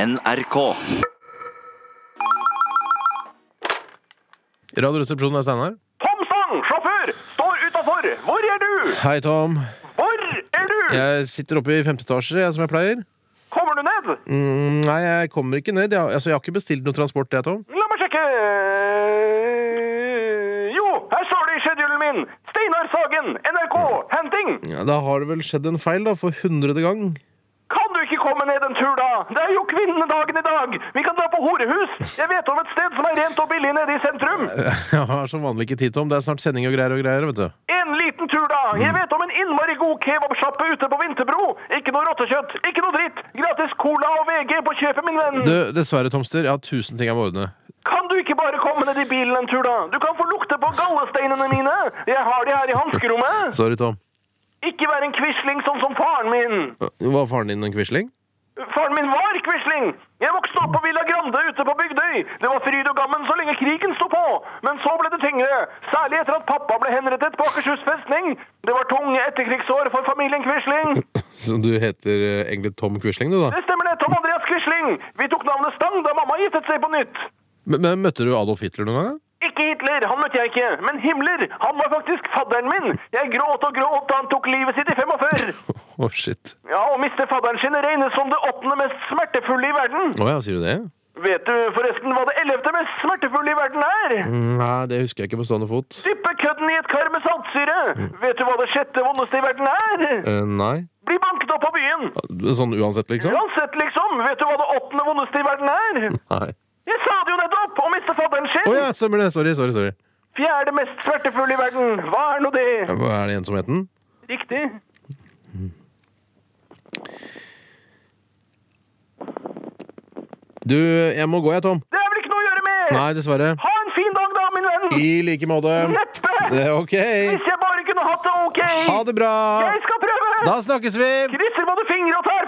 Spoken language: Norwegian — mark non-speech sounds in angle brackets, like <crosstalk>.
NRK. Radioresepsjonen er Steinar. Thomsen, sjåfør, står utafor! Hvor er du? Hei, Tom. Hvor er du? Jeg sitter oppe i femte etasje, jeg, som jeg pleier. Kommer du ned? Mm, nei, jeg kommer ikke ned. Jeg, har- altså, jeg har ikke bestilt noe transport, jeg, Tom. La meg sjekke Jo, her står det i schedulen min! Steinar Sagen, NRK, henting! Ja, da har det vel skjedd en feil, da, for hundrede gang. Kan du ikke komme ned en tur, da? Det er jo kvinnedagen i dag! Vi kan dra på horehus! Jeg vet om et sted som er rent og billig nede i sentrum! <laughs> Jeg har som vanlig ikke tid, Tom. Det er snart sending og greier og greier, vet du. En liten tur, da! Jeg vet om en innmari god kebabsjappe ute på Vinterbro! Ikke noe rottekjøtt, ikke noe dritt! Gratis cola og VG på kjøpet, min venn! Du, dessverre, Tomster, jeg har tusen ting jeg må ordne. Kan du ikke bare komme ned i bilen en tur, da? Du kan få lukte på gallesteinene mine! Jeg har de her i hanskerommet! Sorry, Tom. Ikke vær en quisling sånn som faren min! Var faren din en quisling? Faren min var quisling! Jeg vokste opp på Villa Grande ute på Bygdøy. Det var fryd og gammen så lenge krigen sto på. Men så ble det tyngre, særlig etter at pappa ble henrettet på Akershus festning. Det var tunge etterkrigsår for familien Quisling. Så du heter eh, egentlig Tom Quisling, du, da? Det stemmer det, Tom Andreas Quisling. Vi tok navnet Stang da mamma giftet seg på nytt. Men, men møtte du Adolf Hitler noen gang? da? Ikke Hitler, han møtte jeg ikke, men Himmler. Han var faktisk fadderen min. Jeg gråt og gråt da han tok livet sitt i 45. <laughs> Å, shit. Ja, Å miste fadderen sin regnes som det åttende mest smertefulle i verden. Å ja, sier du det? Vet du forresten hva det ellevte mest smertefulle i verden er? Nei, det husker jeg ikke på stående fot. Dyppe kødden i et kar med saltsyre. Vet du hva det sjette vondeste i verden er? Eh, nei. Bli banket opp på byen. Sånn uansett, liksom? Uansett, liksom. Vet du hva det åttende vondeste i verden er? Nei. Jeg sa det jo nettopp! Å miste fadderen Å sin! ja, stemmer det. Sorry, sorry. sorry. Fjerde mest smertefulle i verden. Hva er nå det? Hva er det ensomheten? Riktig. Du, jeg må gå, jeg, Tom. Det er vel ikke noe å gjøre med! Nei, dessverre. Ha en fin dag, da, min venn! I like måte. Neppe! Det er OK. Hvis jeg bare kunne hatt det ok! Ha det bra. Jeg skal prøve! Da snakkes vi. Krysser både fingre og tær